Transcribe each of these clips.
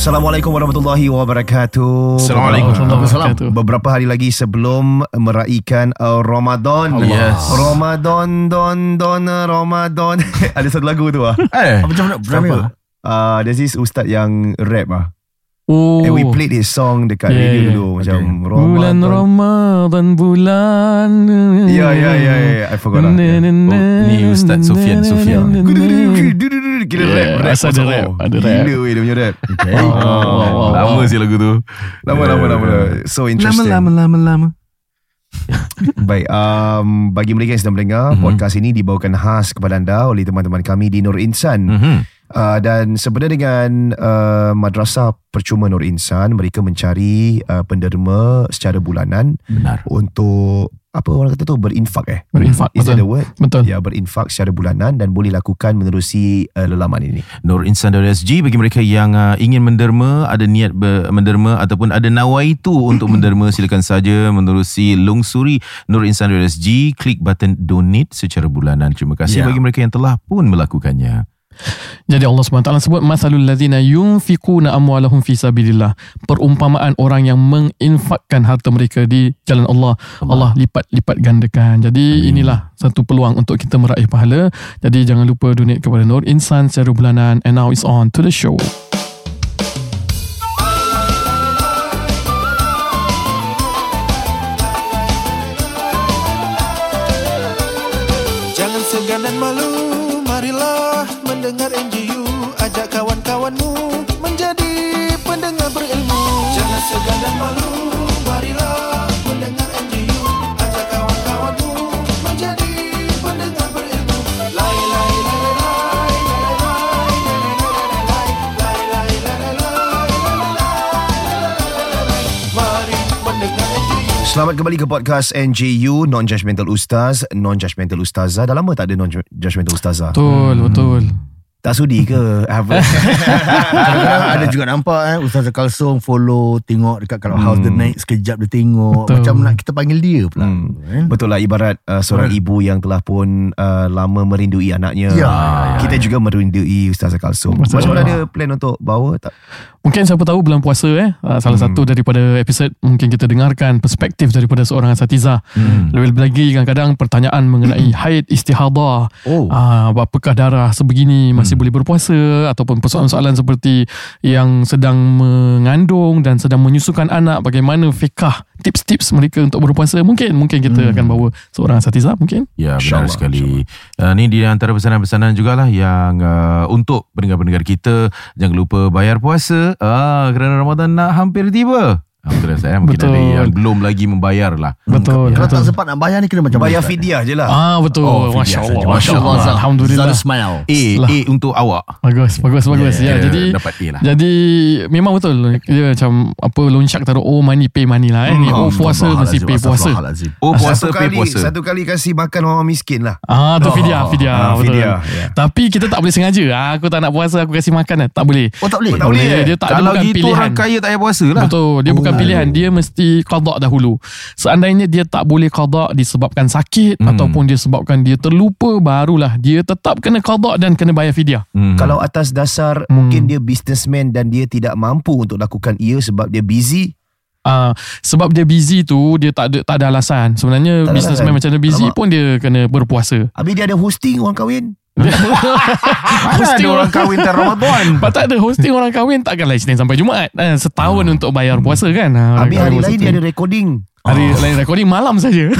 Assalamualaikum warahmatullahi wabarakatuh. Assalamualaikum warahmatullahi wabarakatuh. Beberapa hari lagi sebelum meraikan uh, Ramadan. Allah. Oh, Yes. Ramadan don don uh, Ramadan. Ada satu lagu tu ah. Eh, Apa macam mana? Berapa? Siapa? Uh, there's this ustaz yang rap ah. Oh. And Eh, we played his song dekat Yeah, yeah, radio yeah. dulu macam Bulan Ramadan. Ramadan bulan. Ya ya ya ya I forgot lah. Yeah. Ni Ustaz Sofian Sofian. Gila Yeah, rap, rap asal ada masuk. rap, ada rap. Gila weh dia punya rap Eh, Okay. Oh, Wow, wow, wow. Lama sih lagu tu Lama lama lama lama. So Lama interesting lama lama lama Baik, um, bagi mereka yang sedang mendengar, Mhm. mm-hmm. podcast ini dibawakan khas kepada anda oleh teman-teman kami di Nur Hmm. Insan. Mm. mm-hmm. Uh, dan sebenarnya dengan uh, Madrasah Percuma Nur Insan, mereka mencari uh, penderma secara bulanan Benar. untuk apa orang kata tu berinfak eh. Berinfak, Is that betul. the word? Betul. Ya, berinfak secara bulanan dan boleh lakukan menerusi uh, lelaman ini. Nurinsan.sg bagi mereka yang uh, ingin menderma ada niat ber- menderma ataupun ada nawaitu untuk menderma silakan saja menerusi lungsuri Nurinsan.sg klik button donate secara bulanan terima kasih Ya. yeah. bagi mereka yang telah pun melakukannya Jadi Allah SWT sebut Mathalul ladhina yunfikuna amwalahum fi sabilillah Perumpamaan orang yang menginfakkan harta mereka di jalan Allah Allah, lipat-lipat gandakan Jadi Amin. inilah satu peluang untuk kita meraih pahala Jadi jangan lupa donate kepada Nur Insan secara bulanan And now it's on to the show Jangan segan dan malu Marilah mendengar NGU Ajak kawan-kawanmu Menjadi pendengar berilmu Jangan segan dan malu Marilah mendengar NGU Ajak kawan-kawanmu Menjadi pendengar berilmu Lai lai lai lai lai lai lai lai lai lai lai lai lai lai lai lai lai lai lai lai Mari mendengar NGU Selamat kembali ke podcast NJU Non-Judgmental Ustaz, Non-Judgmental Ustazah. Dah lama tak ada Non-Judgmental Ustazah. Betul, betul. Tak sudi ke? Apa? Kadang-kadang ada juga nampak eh Ustaz Kalsong follow Tengok dekat Clubhouse Dia naik sekejap dia tengok Hmm. Betul. Macam nak kita panggil dia pula Hmm. eh? Betul lah ibarat uh, seorang ibu yang telah pun uh, lama merindui anaknya. Ya. Kita juga merindui Ustazah Kalsum. Betul. Macam mana ada plan untuk bawa tak? Mungkin siapa tahu bulan puasa eh ah, salah hmm. satu daripada episod mungkin kita dengarkan perspektif daripada seorang asatizah. Hmm. Lebih lagi kadang-kadang pertanyaan mengenai haid istihadah. Oh. Ah apakah darah sebegini masih boleh berpuasa ataupun persoalan-soalan seperti yang sedang mengandung dan sedang menyusukan anak bagaimana fiqah tips-tips mereka untuk berpuasa mungkin mungkin kita hmm. akan bawa seorang asatizah mungkin. Ya benar InsyaAllah, sekali uh, Ni di antara pesanan-pesanan jugalah Yang uh, untuk pendengar-pendengar kita Jangan lupa bayar puasa uh, Kerana Ramadan nak hampir tiba Ah, Alhamdulillah saya eh? mungkin Betul. ada yang belum lagi membayar lah Betul. Kalau betul. tak sempat nak bayar ni Kena macam Bayar mana, Ustaz? fidyah je lah. Ah betul. Oh, Oh, saja. Masya-Allah. Masya-Allah. Masya-Allah. Alhamdulillah. Zaru smile A, Lah. A untuk awak Bagus, bagus, bagus. Ya, Kita jadi Dapat A lah Jadi memang betul dia macam apa lonjak taruh oh money pay money lah eh. Ni Hmm. oh puasa mesti pay puasa. Astagfirullahalazim. Oh puasa satu pay kali, puasa Satu kali kasih makan orang miskin lah. Ah Oh. tu fidyah fidyah Ah, betul. fidyah, ya. Tapi kita tak boleh sengaja. Ah, aku tak nak puasa aku kasih makan lah. tak boleh. Oh tak boleh Tak boleh, eh? Dia tak Kalau ada bukan gitu pilihan. orang kaya tak payah puasa lah Betul, dia bukan pilihan, dia mesti qada dahulu. Seandainya dia tak boleh qada disebabkan sakit Hmm. ataupun dia sebabkan dia terlupa barulah dia tetap kena qada dan kena bayar fidyah. hmm. Kalau atas dasar Hmm. mungkin dia businessman dan dia tidak mampu untuk lakukan ia sebab dia busy. Ah, sebab dia busy tu dia tak ada tak ada alasan. Sebenarnya Tak ada businessman alasan. macam dia busy Alamak. pun dia kena berpuasa. Habis dia ada hosting orang kahwin. Mana ada hosting orang kahwin tak Ramadan Sebab tak ada hosting orang kahwin Takkanlah Isnin sampai Jumaat Eh, Setahun untuk bayar puasa kan Ah, Ah. Habis hari orang lain satu. dia ada Ah. recording. Hari lain recording malam saja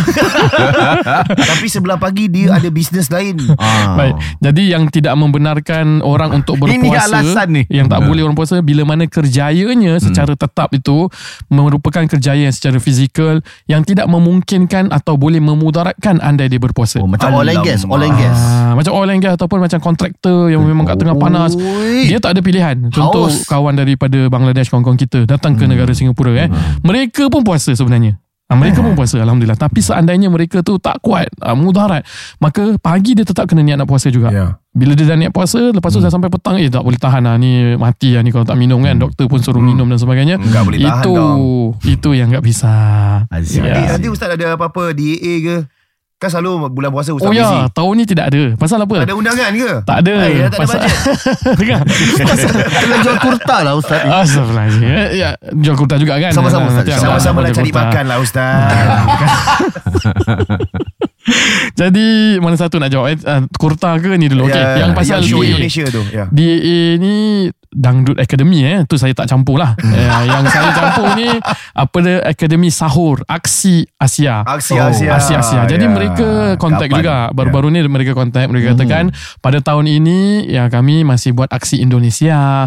Tapi sebelah pagi dia ada bisnes lain. Ah. Baik Jadi yang tidak membenarkan Orang untuk berpuasa Ini dia alasan ni. Yang tak Ya. boleh orang puasa Bila mana Hmm. kerjayanya Secara tetap itu Merupakan kerjaya yang secara fizikal Yang tidak memungkinkan Atau boleh memudaratkan Andai dia berpuasa Oh macam oil and gas Oil and gas Ah, macam oil and gas ataupun macam kontraktor yang memang kat tengah Ah. Oh. panas Oi. dia tak ada pilihan contoh Haus. kawan daripada Bangladesh kawan-kawan kita datang Hmm. ke negara Singapura eh mereka pun puasa sebenarnya Ah, mereka Hmm. pun puasa Alhamdulillah Tapi seandainya mereka tu tak kuat ah, Mudarat Maka pagi dia tetap kena niat nak puasa juga Ya. Bila dia dah niat puasa Lepas Hmm. tu dah sampai petang Eh tak boleh tahan lah Ni mati lah ni kalau tak minum kan Doktor pun suruh minum dan sebagainya Nggak Hmm. boleh tahan Itu dong. Itu yang tak bisa Azim Eh, Nanti, Ya. nanti ustaz ada apa-apa DA ke? Kan selalu bulan puasa Ustaz Oh busy. ya, tahun ni tidak ada. Pasal apa? Ada undangan ke? Tak ada. Eh, dah tak ada Hmm. Pasal- bajet. Dengar. Pasal- Kena jual kurta lah Ustaz Astagfirullahaladzim. Ya, ya, jual kurta juga kan? Sama-sama, Nanti Ustaz. abang Sama-sama lah jual cari kurta. makan lah Ustaz. Jadi, mana satu nak jawab? Eh, Ah, kurta ke ni dulu? Okey, yang Ya, pasal yang show DA. Indonesia tu. Ya. DA ni Dangdut Academy eh tu saya tak campur lah eh, yang saya campur ni apa dia Academy Sahur Aksi Asia Aksi Asia. Oh, Asia Asia. Jadi Ya. mereka Kapan? Ya. kontak Hmm. juga. Baru-baru ni mereka kontak mereka katakan pada tahun ini ya kami masih buat aksi Indonesia.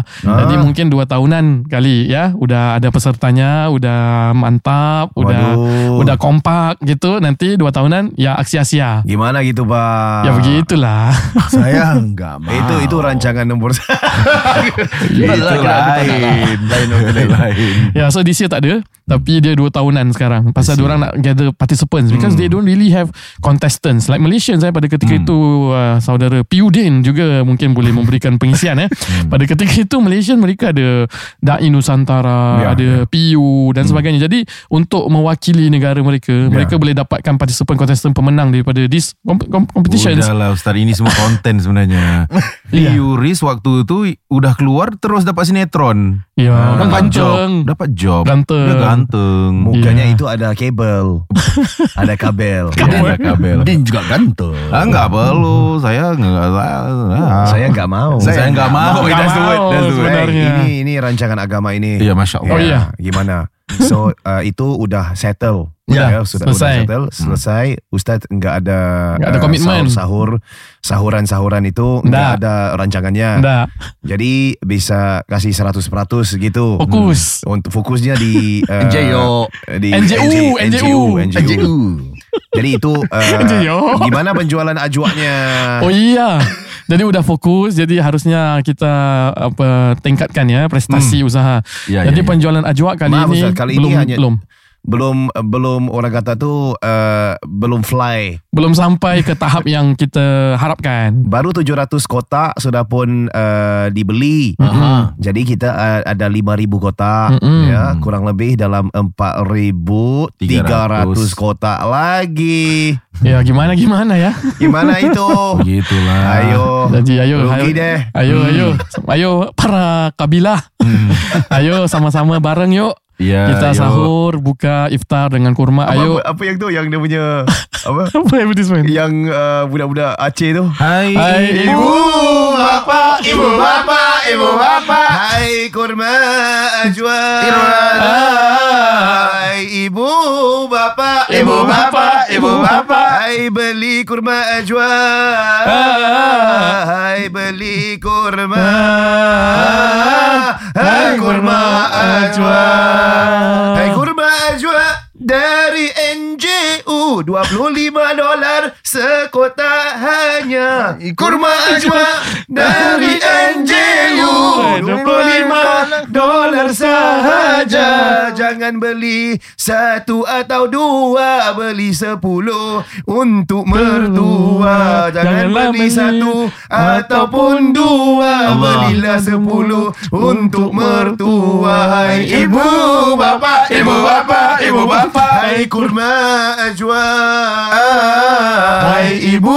Ah. Jadi mungkin dua tahunan kali ya udah ada pesertanya, udah mantap, udah Waduh. udah kompak gitu. Nanti dua tahunan ya aksi Asia. Gimana gitu Pak? Ya Ah. begitulah. Saya enggak mau Eh, Itu itu lah. rancangan nombor Itu lain Lain lain Ya so this year tak ada Tapi dia 2 tahunan sekarang Pasal diorang nak gather participants Because they don't really have contestants Like Malaysians eh, pada ketika itu uh, Saudara Piudin juga mungkin boleh memberikan pengisian eh. Pada ketika itu Malaysian mereka ada Da'i Nusantara Ya, Ada PU dan sebagainya Jadi untuk mewakili negara mereka Mereka boleh dapatkan participant contestant pemenang Daripada this comp- comp- competition Udah lah Ustaz Ini semua konten sebenarnya Ya. Yuris waktu tu Udah keluar Terus dapat sinetron Ya, kan Dapat job ganteng Dapat job Ganteng. Dia ganteng Bukannya Ya. itu ada kabel. ada kabel. Dia ada kabel lah. Din juga ganteng Ah, enggak perlu Saya enggak ah. Ya. Saya enggak mau. Eh, Saya enggak mau Enggak That's the word mau That's the word sebenarnya. ini ini rancangan agama ini. Ya Masya Ya, Allah Oh, ya. Gimana? So uh, itu udah settle. Ya, sudah selesai. sudah settle, selesai. Ustaz enggak ada Enggak ada uh, komitmen. Sahur, sahur sahuran-sahuran itu enggak Dah. ada rancangannya. Dah Jadi bisa kasih 100% gitu. Fokus Hmm. Untuk fokusnya di uh, Jayo di NJU, NJU. NJU. Jadi itu uh, NJU. gimana penjualan ajuaknya? Oh iya. Jadi udah fokus jadi harusnya kita apa tingkatkan ya prestasi Hmm. usaha. Ya, jadi ya, ya. penjualan ajwa kali Maaf, ini Ustaz, kali ini belum hanya- belum Belum belum orang kata tu uh, belum fly. belum sampai ke tahap yang kita harapkan. Baru 700 kotak sudah pun uh, dibeli. Aha. Jadi kita uh, ada 5000 kotak Mm-mm. ya, kurang lebih dalam 4300 300 kotak lagi. Ya gimana gimana ya. Gimana itu? Oh, Begitulah Ayo. Jadi ayo Oh, Rugi ayo deh. Hmm. ayo ayo ayo para kabilah. ayo sama-sama bareng yuk. Ya, Kita ayo. sahur, buka, iftar dengan kurma. Ayo. Apa, apa yang tu yang dia punya apa? Apa advertisement? yang uh, budak-budak Aceh tu. Hai Hai ibu. bapa, ibu bapa, ibu bapa. Hai kurma ajwa. Hai ibu bapa, Ibu bapa, ibu bapa. Ha, Hai beli kurma ajwa. ha. Hai beli kurma. Ha, Hai kurma ajwa. Hai kurma ajwa dari NJU 25 dolar sekotak hanya. Kurma ajwa dari NJU 25 dolar sahaja. Jangan beli satu atau dua, beli sepuluh untuk mertua. Jangan Janganlah beli beli satu ataupun dua, belilah sepuluh untuk mertua. Hai ibu bapa, ibu bapa, ibu bapa. Hai kurma ajwa. Ah. Hai ibu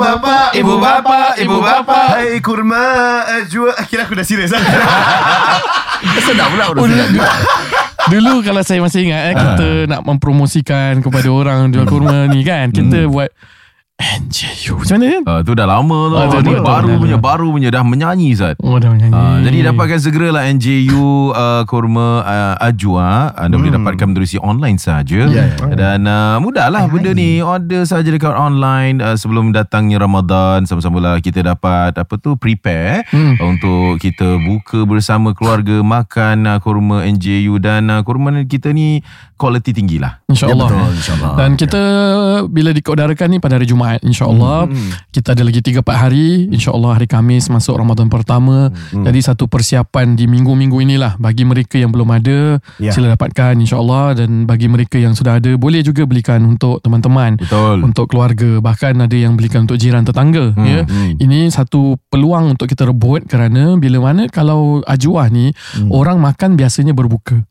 bapa, ibu bapa, ibu bapa. Hai kurma ajwa. Kira aku dah serius ah. Sedap pula orang sedap juga. Dulu kalau saya masih ingat eh, Kita nak mempromosikan Kepada orang Jual kurma ni kan Kita buat NJU Macam mana kan? Ah, tu dah lama tu. Ah, Ah, dah baru lama. Dah, dah. punya, baru punya dah menyanyi Zat. Oh dah menyanyi Ah, Hmm. jadi dapatkan segeralah NJU uh, Kurma uh, Ajwa Anda boleh dapatkan menerusi online saja Hmm. Ya, ya. Dan uh, mudahlah benda ni Order saja dekat online uh, Sebelum datangnya Ramadan Sama-samalah kita dapat Apa tu prepare Hmm, Untuk kita buka bersama keluarga Makan uh, kurma NJU Dan uh, kurma kita ni Kualiti tinggi lah InsyaAllah Ya, Betul Ah, insyaAllah Dan kita bila dikeudarakan ni pada hari Jumaat insyaAllah Kita ada lagi 3-4 hari InsyaAllah hari Kamis masuk Ramadan pertama Jadi satu persiapan di minggu-minggu inilah Bagi mereka yang belum ada Ya. Sila dapatkan insyaAllah Dan bagi mereka yang sudah ada Boleh juga belikan untuk teman-teman Betul untuk keluarga bahkan ada yang belikan untuk jiran tetangga hmm, ya hmm. ini satu peluang untuk Hmm. Hmm. kita rebut kerana bila mana kalau ajuah ni orang makan biasanya berbuka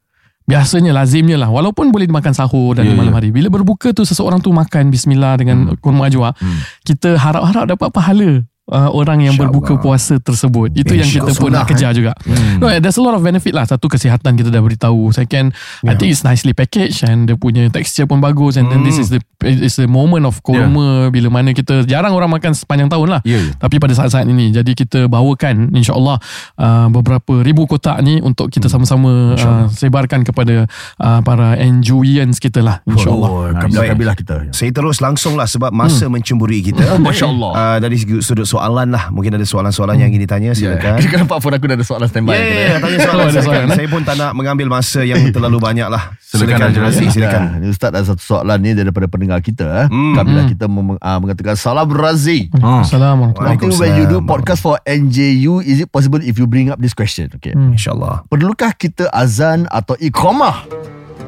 Biasanya lazimnya lah Walaupun boleh dimakan sahur Dan Ya, yeah, malam ya. hari Bila berbuka tu Seseorang tu makan Bismillah dengan kurma ajwa Hmm. Kita harap-harap dapat pahala uh, Orang yang berbuka puasa tersebut Itu yang kita pun Insyaallah, nak kejar juga Hmm. No, there's a lot of benefit lah. Satu kesihatan kita dah beritahu. Second, Ya. yeah. I think it's nicely packaged and dia punya texture pun bagus and mm. then this Hmm. is the is the moment of korma yeah. bila mana kita jarang orang makan sepanjang tahun lah. Ya, ya. Tapi pada saat-saat ini jadi kita bawakan insyaallah uh, beberapa ribu kotak ni untuk kita sama-sama uh, sebarkan kepada uh, para enjoyers kita lah insyaallah. Oh, kabilah-kabilah kita. Saya terus langsung lah sebab masa hmm. mencemburi kita. Masya Allah. Uh, dari segi sudut soalan lah. Mungkin ada soalan-soalan yang ingin ya, ditanya silakan. Kita nampak phone aku dah ada soalan standby. Ya, ya, ya, tanya Oh, soalan, ada silakan. soalan, eh? Saya pun tak nak mengambil masa yang terlalu banyak lah. Silakan, Haji Razi. Silakan. Nah, ni Ustaz ada satu soalan ni daripada pendengar kita. Eh. Ya. Hmm. Kabilah kita mem- ah, mengatakan Salam Razi. Oh. Assalamualaikum. One thing when you do podcast for NJU, is it possible if you bring up this question? Okay. Hmm. InsyaAllah. Perlukah kita azan atau iqamah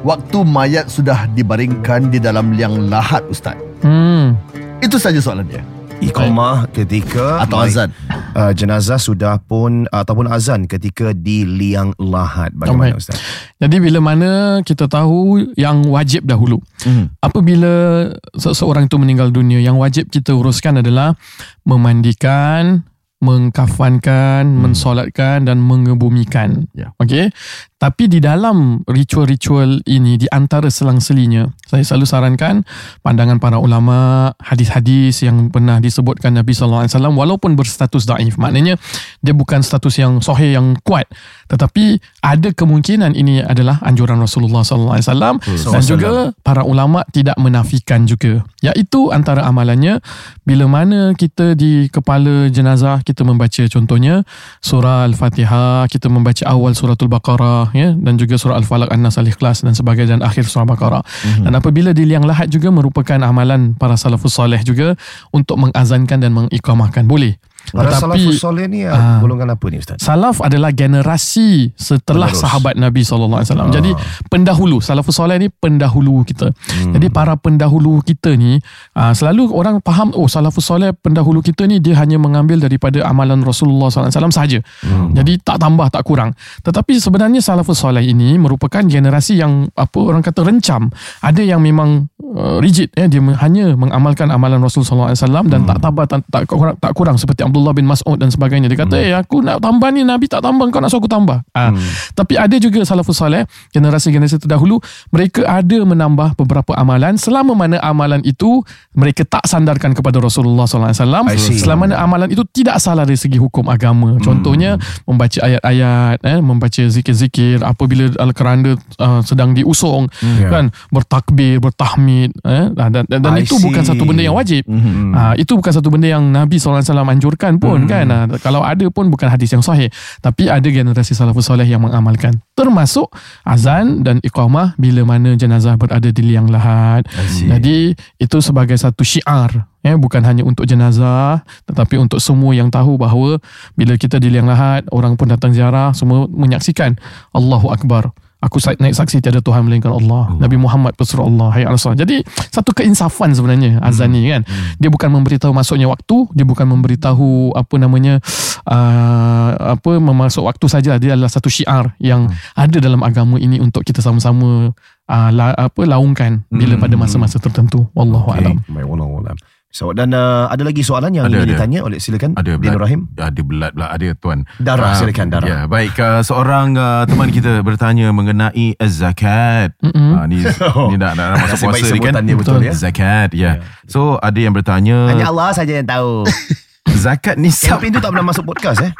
waktu mayat sudah dibaringkan di dalam liang lahat Ustaz? Hmm. Itu saja soalan dia. Iqamah ketika Atau mai- azan. Uh, jenazah sudah pun ataupun azan ketika di liang lahat. Bagaimana Alright. Ustaz? Jadi bila mana kita tahu yang wajib dahulu. Hmm. Apabila seseorang itu meninggal dunia, yang wajib kita uruskan adalah memandikan, mengkafankan, hmm. mensolatkan dan mengebumikan. Ya. Okey. Tapi di dalam ritual-ritual ini di antara selang-selinya, saya selalu sarankan pandangan para ulama, hadis-hadis yang pernah disebutkan Nabi sallallahu alaihi wasallam walaupun berstatus daif. Maknanya dia bukan status yang sahih yang kuat, tetapi ada kemungkinan ini adalah anjuran Rasulullah sallallahu alaihi wasallam dan juga para ulama tidak menafikan juga. Iaitu antara amalannya bila mana kita di kepala jenazah kita membaca contohnya surah Al-Fatihah, kita membaca awal suratul Baqarah ya dan juga surah Al-Falaq, An-Nas, Al-Ikhlas dan sebagainya dan akhir surah Baqarah. Mhm. Mm-hmm. Dan apabila di liang lahat juga merupakan amalan para salafus soleh juga untuk mengazankan dan mengikamahkan boleh. Para salafus soleh ni uh, Ah. golongan apa ni Ustaz? Salaf adalah generasi setelah Penerus. Penerus. sahabat Nabi SAW. Ah. Jadi pendahulu, salafus soleh ni pendahulu kita. Hmm. Jadi para pendahulu kita ni, ah, selalu orang faham, oh salafus soleh pendahulu kita ni dia hanya mengambil daripada amalan Rasulullah SAW sahaja. Hmm. Jadi tak tambah, tak kurang. Tetapi sebenarnya salafus soleh ini merupakan generasi yang apa orang kata rencam. Ada yang memang uh, rigid eh dia men- hanya mengamalkan amalan Rasul sallallahu alaihi wasallam dan tak tambah tak, tak kurang tak kurang seperti Abdullah bin Mas'ud dan sebagainya dia kata eh aku nak tambah ni nabi tak tambah kau nak suruh aku tambah ha. tapi ada juga salafus saleh generasi-generasi terdahulu mereka ada menambah beberapa amalan selama mana amalan itu mereka tak sandarkan kepada Rasulullah sallallahu alaihi wasallam I see. Hmm. selama mana amalan itu tidak salah dari segi hukum agama contohnya membaca ayat-ayat eh membaca zikir-zikir apabila al-keranda uh, sedang diusung Ya. kan bertakbir bertahmid eh? dan dan, dan I itu see. bukan satu benda yang wajib Hmm. mm-hmm. Hmm. ha, itu bukan satu benda yang Nabi SAW anjurkan pun mm-hmm. kan ha, kalau ada pun bukan hadis yang sahih tapi ada generasi salafus soleh yang mengamalkan termasuk azan dan iqamah bila mana jenazah berada di liang lahat jadi itu sebagai satu syiar ya bukan hanya untuk jenazah tetapi untuk semua yang tahu bahawa bila kita di liang lahat orang pun datang ziarah semua menyaksikan Allahu akbar aku sa- naik saksi tiada Tuhan melainkan Allah Nabi Muhammad pesuruh Allah hayya ala salat. jadi satu keinsafan sebenarnya azan ni kan Hmm. dia bukan memberitahu masuknya waktu dia bukan memberitahu apa namanya uh, apa memasuk waktu saja dia adalah satu syiar yang Hmm. ada dalam agama ini untuk kita sama-sama uh, la, apa laungkan bila pada Hmm. masa-masa tertentu wallahu okay. alam My Allah alam. So dan uh, ada lagi soalan yang Ada, ingin ada. ditanya oleh silakan Ada Din Rahim. Ada belat pula ada tuan. Darah, Ah, silakan, darah. Ya, baik uh, seorang uh, teman kita bertanya mengenai zakat. Mm-mm. Ah, ni ni nak nak nak masuk Nasib baik puasa ni kan. sebutan dia betul, ya. Zakat, ya. Yeah. So ada yang bertanya Hanya Allah saja yang tahu. zakat nisab Kelvin tu tak pernah masuk podcast eh.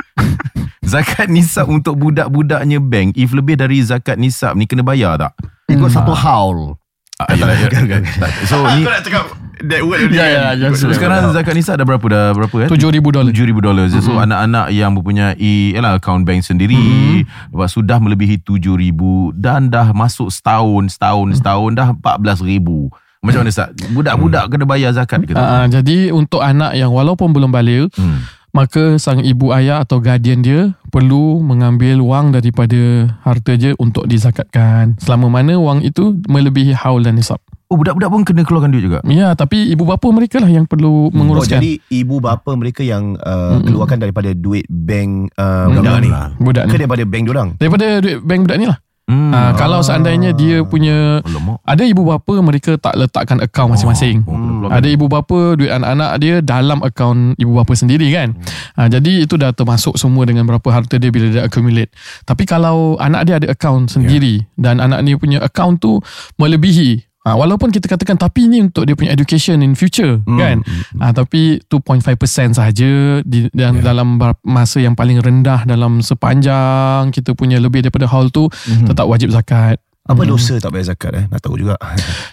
zakat nisab untuk budak-budaknya bank if lebih dari zakat nisab ni kena bayar tak? Ikut satu haul. Ah, ya, ya, ya. Tak. So ni nak cakap that word ya, kan? ya. so, sekarang zakat nisab dah berapa dah berapa eh? tujuh ribu dolar $7,000 dolar. So Mhm. mm-hmm. anak-anak yang mempunyai yalah account bank sendiri Mhm. mm-hmm. lepas tu dah melebihi 7000 dan dah masuk setahun setahun mm-hmm. Mhm. setahun dah 14000. Macam mana Ustaz? Budak-budak mm. kena bayar zakat ke? tak? Hmm. Ah, jadi untuk anak yang walaupun belum balik Hmm. maka sang ibu ayah atau guardian dia perlu mengambil wang daripada harta dia untuk dizakatkan selama mana wang itu melebihi haul dan nisab Oh budak-budak pun kena keluarkan duit juga. ya tapi ibu bapa mereka lah yang Oh, perlu menguruskan jadi ibu bapa mereka yang uh, keluarkan daripada duit bank uh, Mm-mm. budak ni. budak lah. Ke ni daripada bank diorang? daripada duit bank budak ni lah Hmm. Uh, kalau seandainya dia punya Alamak. ada ibu bapa mereka tak letakkan akaun masing-masing. Oh, kena plug Ada ibu bapa duit anak-anak dia dalam akaun ibu bapa sendiri kan. Ha, jadi itu dah termasuk semua dengan berapa harta dia bila dia accumulate. Tapi kalau anak dia ada akaun sendiri yeah. dan anak dia punya akaun tu melebihi Ha, walaupun kita katakan tapi ini untuk dia punya education in future hmm. Ya. kan ha, tapi 2.5% sahaja di, dan yeah. dalam bar- masa yang paling rendah dalam sepanjang kita punya lebih daripada haul tu hmm. tetap wajib zakat Apa dosa tak bayar zakat eh? Nak tahu juga.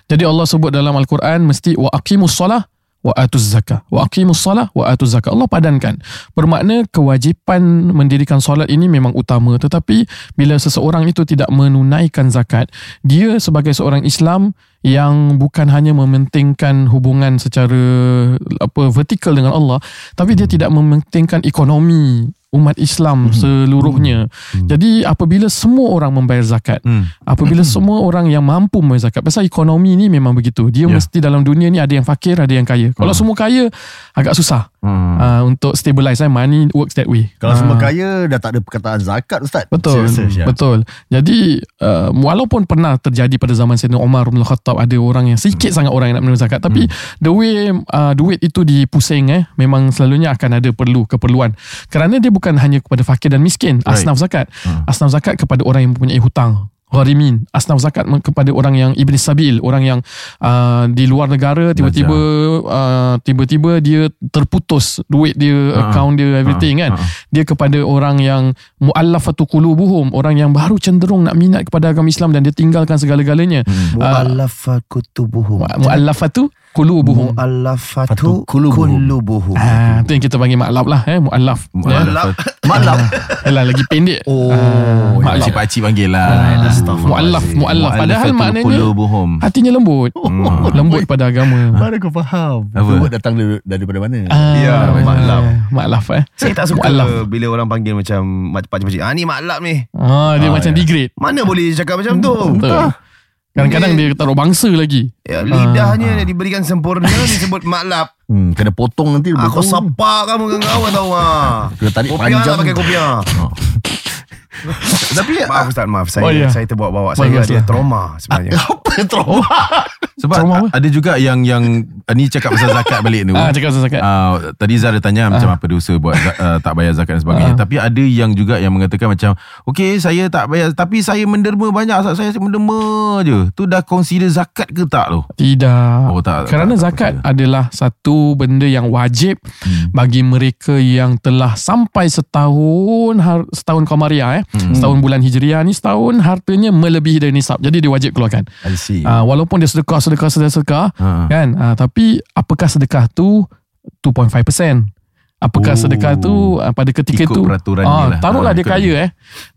jadi Allah sebut dalam Al-Quran mesti wa aqimus solah wa atuz zakah. Wa aqimus solah wa atuz zakah. Allah padankan. Bermakna kewajipan mendirikan solat ini memang utama tetapi bila seseorang itu tidak menunaikan zakat, dia sebagai seorang Islam yang bukan hanya mementingkan hubungan secara apa vertikal dengan Allah tapi dia tidak mementingkan ekonomi umat Mhm. Islam seluruhnya. Jadi apabila semua orang membayar zakat, Hmm. Apabila semua orang yang mampu membayar zakat Pasal ekonomi ni memang begitu Dia Ya. yeah. mesti dalam dunia ni Ada yang fakir, ada yang kaya Kalau semua kaya Agak susah Hmm. uh, Untuk stabilize eh. Money works that way Ah. Kalau semua kaya Dah tak ada perkataan zakat Ustaz Betul Serius, ya. Betul Jadi uh, Walaupun pernah terjadi Pada zaman Sayyidina Umar bin Khattab Ada orang yang Sikit sangat orang yang nak menerima zakat Tapi Hmm. The way uh, Duit itu dipusing eh, Memang selalunya akan ada perlu Keperluan Kerana dia bukan hanya Kepada fakir dan miskin Right. Hmm. Asnaf zakat Asnaf zakat kepada orang yang mempunyai hutang Gharimin Asnaf zakat men- kepada orang yang Ibn Sabil Orang yang uh, Di luar negara Tiba-tiba uh, Tiba-tiba dia Terputus Duit dia Ah. Account dia Everything kan Ah, ah. dia kepada orang yang muallafatu qulubuhum orang yang baru cenderung nak minat kepada agama Islam dan dia tinggalkan segala-galanya Hmm. Ah. Mu'allafa kutubuhum Mu- muallafatu qulubuhum Mu'allafatu Kulubuhum. kulubuhum ah tu yang kita panggil maklab lah eh muallaf ya Mu'allaf. Malam Yalah, lagi pendek Oh Ah, maklab. Pakcik-pakcik panggil lah Mu'allaf, mu'allaf. Ah, Padahal maknanya- Qulubuhum. hatinya lembut lembut pada agama Baru kau faham Apa? Apa? datang dari- daripada mana Ah, Ya, maklab. maklaf eh Saya tak suka Mu'allaf. bila orang panggil macam mak- pakcik-pakcik. Ah ni maklap ni. ah dia Ah, macam ya. degrade Mana boleh cakap macam tu? Ah. betul kadang-kadang dia taruh bangsa lagi Ya, lidahnya yang diberikan sempurna disebut maklap. hmm, Kena potong nanti Aku potong. sepak kamu dengan kawan tahu ah. Kena tarik Kopiah panjang. tak pakai kopiah. Tapi ah, maaf ustaz maaf saya Oh, ya. saya terbawa-bawa saya Bagus, ada lah. trauma sebenarnya. Apa yang trauma Sebab Trauma apa? ada juga yang yang ah, ni cakap pasal zakat balik tu. ah cakap pasal zakat Uh, tadi Zara tanya macam apa dosa buat za- uh, tak bayar zakat dan sebagainya. Tapi ada yang juga yang mengatakan macam, okay saya tak bayar tapi saya menderma banyak, Ustaz. saya menderma je. Tu dah consider zakat ke tak tu? Tidak. Oh, tak, tak, Kerana tak, tak zakat percaya. Hmm. adalah satu benda yang wajib bagi mereka yang telah sampai setahun har- setahun Qamariah eh. Hmm. Setahun bulan Hijriah ni setahun hartanya melebihi dari nisab. Jadi dia wajib keluarkan. I Hmm. see Uh, walaupun dia sedekah sedekah sedekah, sedekah Ha. kan uh, tapi apakah sedekah tu 2.5% Oh. apakah oh. sedekah tu uh, pada ketika Ikut tu peraturan dia lah. Ah, taruhlah Ha, dia ikut kaya eh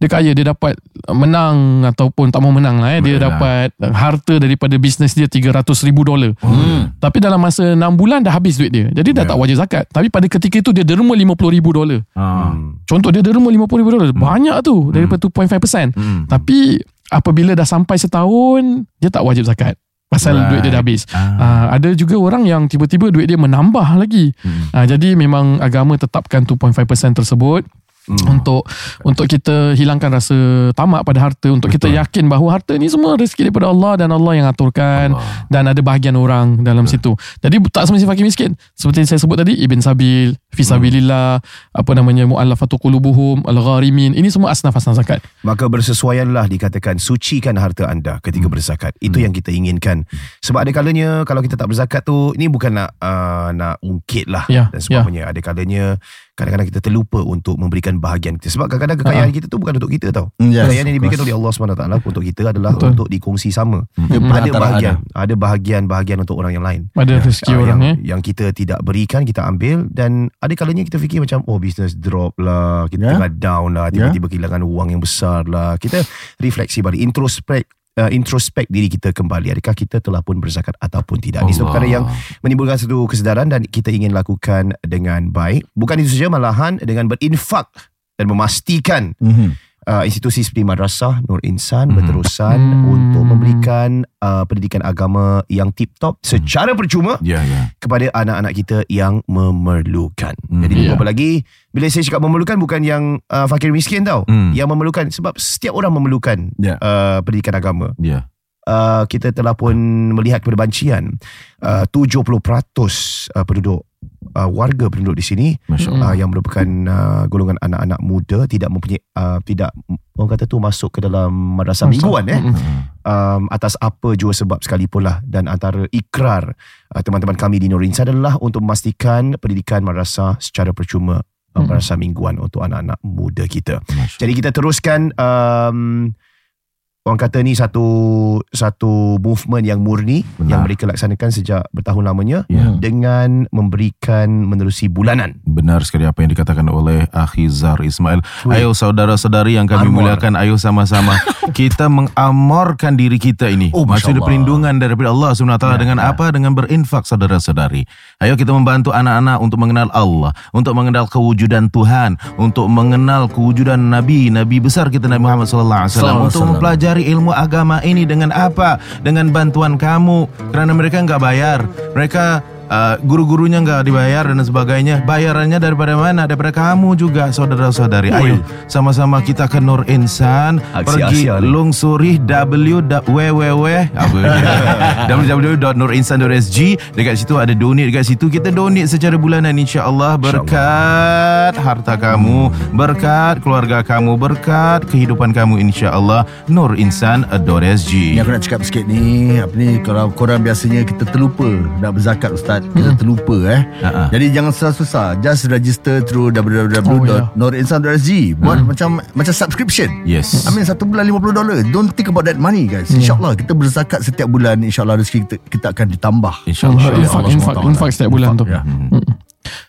dia kaya dia dapat menang ataupun tak mau menang lah eh dia Yalah. dapat harta daripada bisnes dia 300 ribu dolar hmm. tapi dalam masa 6 bulan dah habis duit dia jadi dah tak wajib zakat tapi pada ketika itu dia derma 50 ribu dolar Ah. Contoh dia derma 50 ribu dolar. Banyak tu daripada 2.5%. Hmm. Tapi apabila dah sampai setahun, dia tak wajib zakat. Pasal Right. duit dia dah habis. Ah. Ah. ada juga orang yang tiba-tiba duit dia menambah lagi. Hmm. Ah, jadi memang agama tetapkan 2.5% tersebut. Untuk untuk kita hilangkan rasa tamak pada harta Untuk Betul. kita yakin bahawa harta ni semua rezeki daripada Allah Dan Allah yang aturkan Allah. Allah. Dan ada bahagian orang dalam Betul. situ Jadi tak semestinya fakir miskin Seperti yang saya sebut tadi Ibn Sabil Fisabilillah Apa namanya Mu'allafatu qulubuhum Al-gharimin Ini semua asnaf-asnaf zakat Maka bersesuaianlah dikatakan sucikan harta anda ketika berzakat. Itu yang kita inginkan. Sebab ada kalanya kalau kita tak berzakat tu ini bukan nak uh, nak ungkit lah Ya, dan sebagainya. Ada kalanya kadang-kadang kita terlupa untuk memberikan bahagian kita. Sebab kadang-kadang kekayaan kita tu bukan untuk kita tau. Mm, yes, kekayaan yang of diberikan course. Hmm. oleh Allah SWT untuk kita adalah Betul. untuk dikongsi sama. Dia Hmm, Ada perantaraan bahagian, ada bahagian-bahagian untuk orang yang lain. Pada rezeki Ah, orang yang, eh yang kita tidak berikan kita ambil dan ada kalanya kita fikir macam oh business drop lah kita yeah. Ya. tengah down lah tiba-tiba yeah. kehilangan wang yang besar lah kita refleksi balik introspect uh, introspect diri kita kembali adakah kita telah pun berzakat ataupun tidak ini satu perkara yang menimbulkan satu kesedaran dan kita ingin lakukan dengan baik bukan itu saja malahan dengan berinfak dan memastikan Mhm. uh, institusi seperti madrasah Nur Insan hmm. berterusan hmm. untuk memberikan uh, pendidikan agama yang tip top secara percuma Ya, ya. kepada anak-anak kita yang memerlukan. Hmm. Jadi Ya. yeah. lagi bila saya cakap memerlukan bukan yang uh, fakir miskin tau, Hmm. yang memerlukan sebab setiap orang memerlukan Ya. uh, pendidikan agama. Ya. Uh, kita telah pun melihat kepada bancian uh, 70% uh, penduduk uh, warga penduduk di sini Masya uh, Hmm. yang merupakan uh, golongan anak-anak muda tidak mempunyai uh, tidak orang kata tu masuk ke dalam madrasah mingguan eh Ah, Mm-mm. um, atas apa jua sebab sekalipun lah dan antara ikrar uh, teman-teman kami di Norinsa adalah untuk memastikan pendidikan madrasah secara percuma uh, Hmm. Mm-mm. madrasah mingguan untuk anak-anak muda kita. Masya Jadi kita teruskan um, orang kata ni satu satu movement yang murni Benar. yang mereka laksanakan sejak bertahun lamanya Ya. dengan memberikan menerusi bulanan. Benar sekali apa yang dikatakan oleh Akhizar Ismail. Ayo saudara-saudari yang kami Amor. muliakan, ayo sama-sama kita mengamorkan diri kita ini. Oh, Masya Maksudnya Allah. perlindungan daripada Allah SWT dengan apa? Dengan berinfak saudara-saudari. Ayo kita membantu anak-anak untuk mengenal Allah, untuk mengenal kewujudan Tuhan, untuk mengenal kewujudan Nabi, Nabi besar kita Nabi Muhammad sallallahu alaihi wasallam, Sallallahu untuk alaihi wasallam. mempelajari ilmu agama ini dengan apa? Dengan bantuan kamu kerana mereka nggak bayar. Mereka Uh, guru-gurunya nggak dibayar dan sebagainya. Bayarannya daripada mana? Daripada kamu juga, saudara-saudari. Ayo, sama-sama kita ke Nur Insan. Aksi pergi Asia ni. lungsuri www apa ni? www.nurinsan.sg. Dekat situ ada donate dekat situ. Kita donate secara bulanan insya-Allah berkat harta kamu, berkat keluarga kamu, berkat kehidupan kamu insya-Allah. Ni Nurinsan.sg. aku nak cakap sikit ni Apa ni Kalau korang biasanya Kita terlupa Nak berzakat Ustaz Kita terlupa eh Ha-ha. Jadi jangan susah-susah Just register Oh, through ya. www.norinsan.sg Buat macam Macam subscription Yes. I mean satu bulan 50 dolar Don't think about that money guys InsyaAllah kita berzakat setiap bulan InsyaAllah rezeki kita, kita akan ditambah Insya-Allah. Infak, infak, infak setiap bulan tu. Ya.